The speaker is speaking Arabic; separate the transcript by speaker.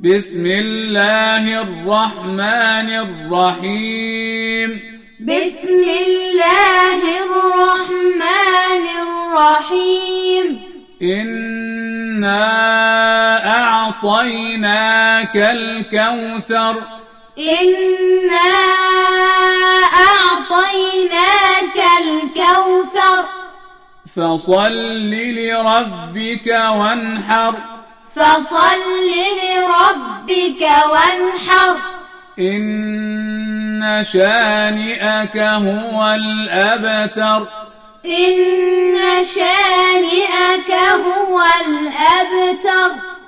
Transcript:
Speaker 1: بسم الله الرحمن الرحيم
Speaker 2: بسم الله الرحمن الرحيم
Speaker 1: إنا أعطيناك الكوثر
Speaker 2: إنا أعطيناك الكوثر
Speaker 1: فصل لربك وانحر
Speaker 2: فصل لربك وانحر
Speaker 1: إن شانئك هو الأبتر
Speaker 2: إن شانئك هو الأبتر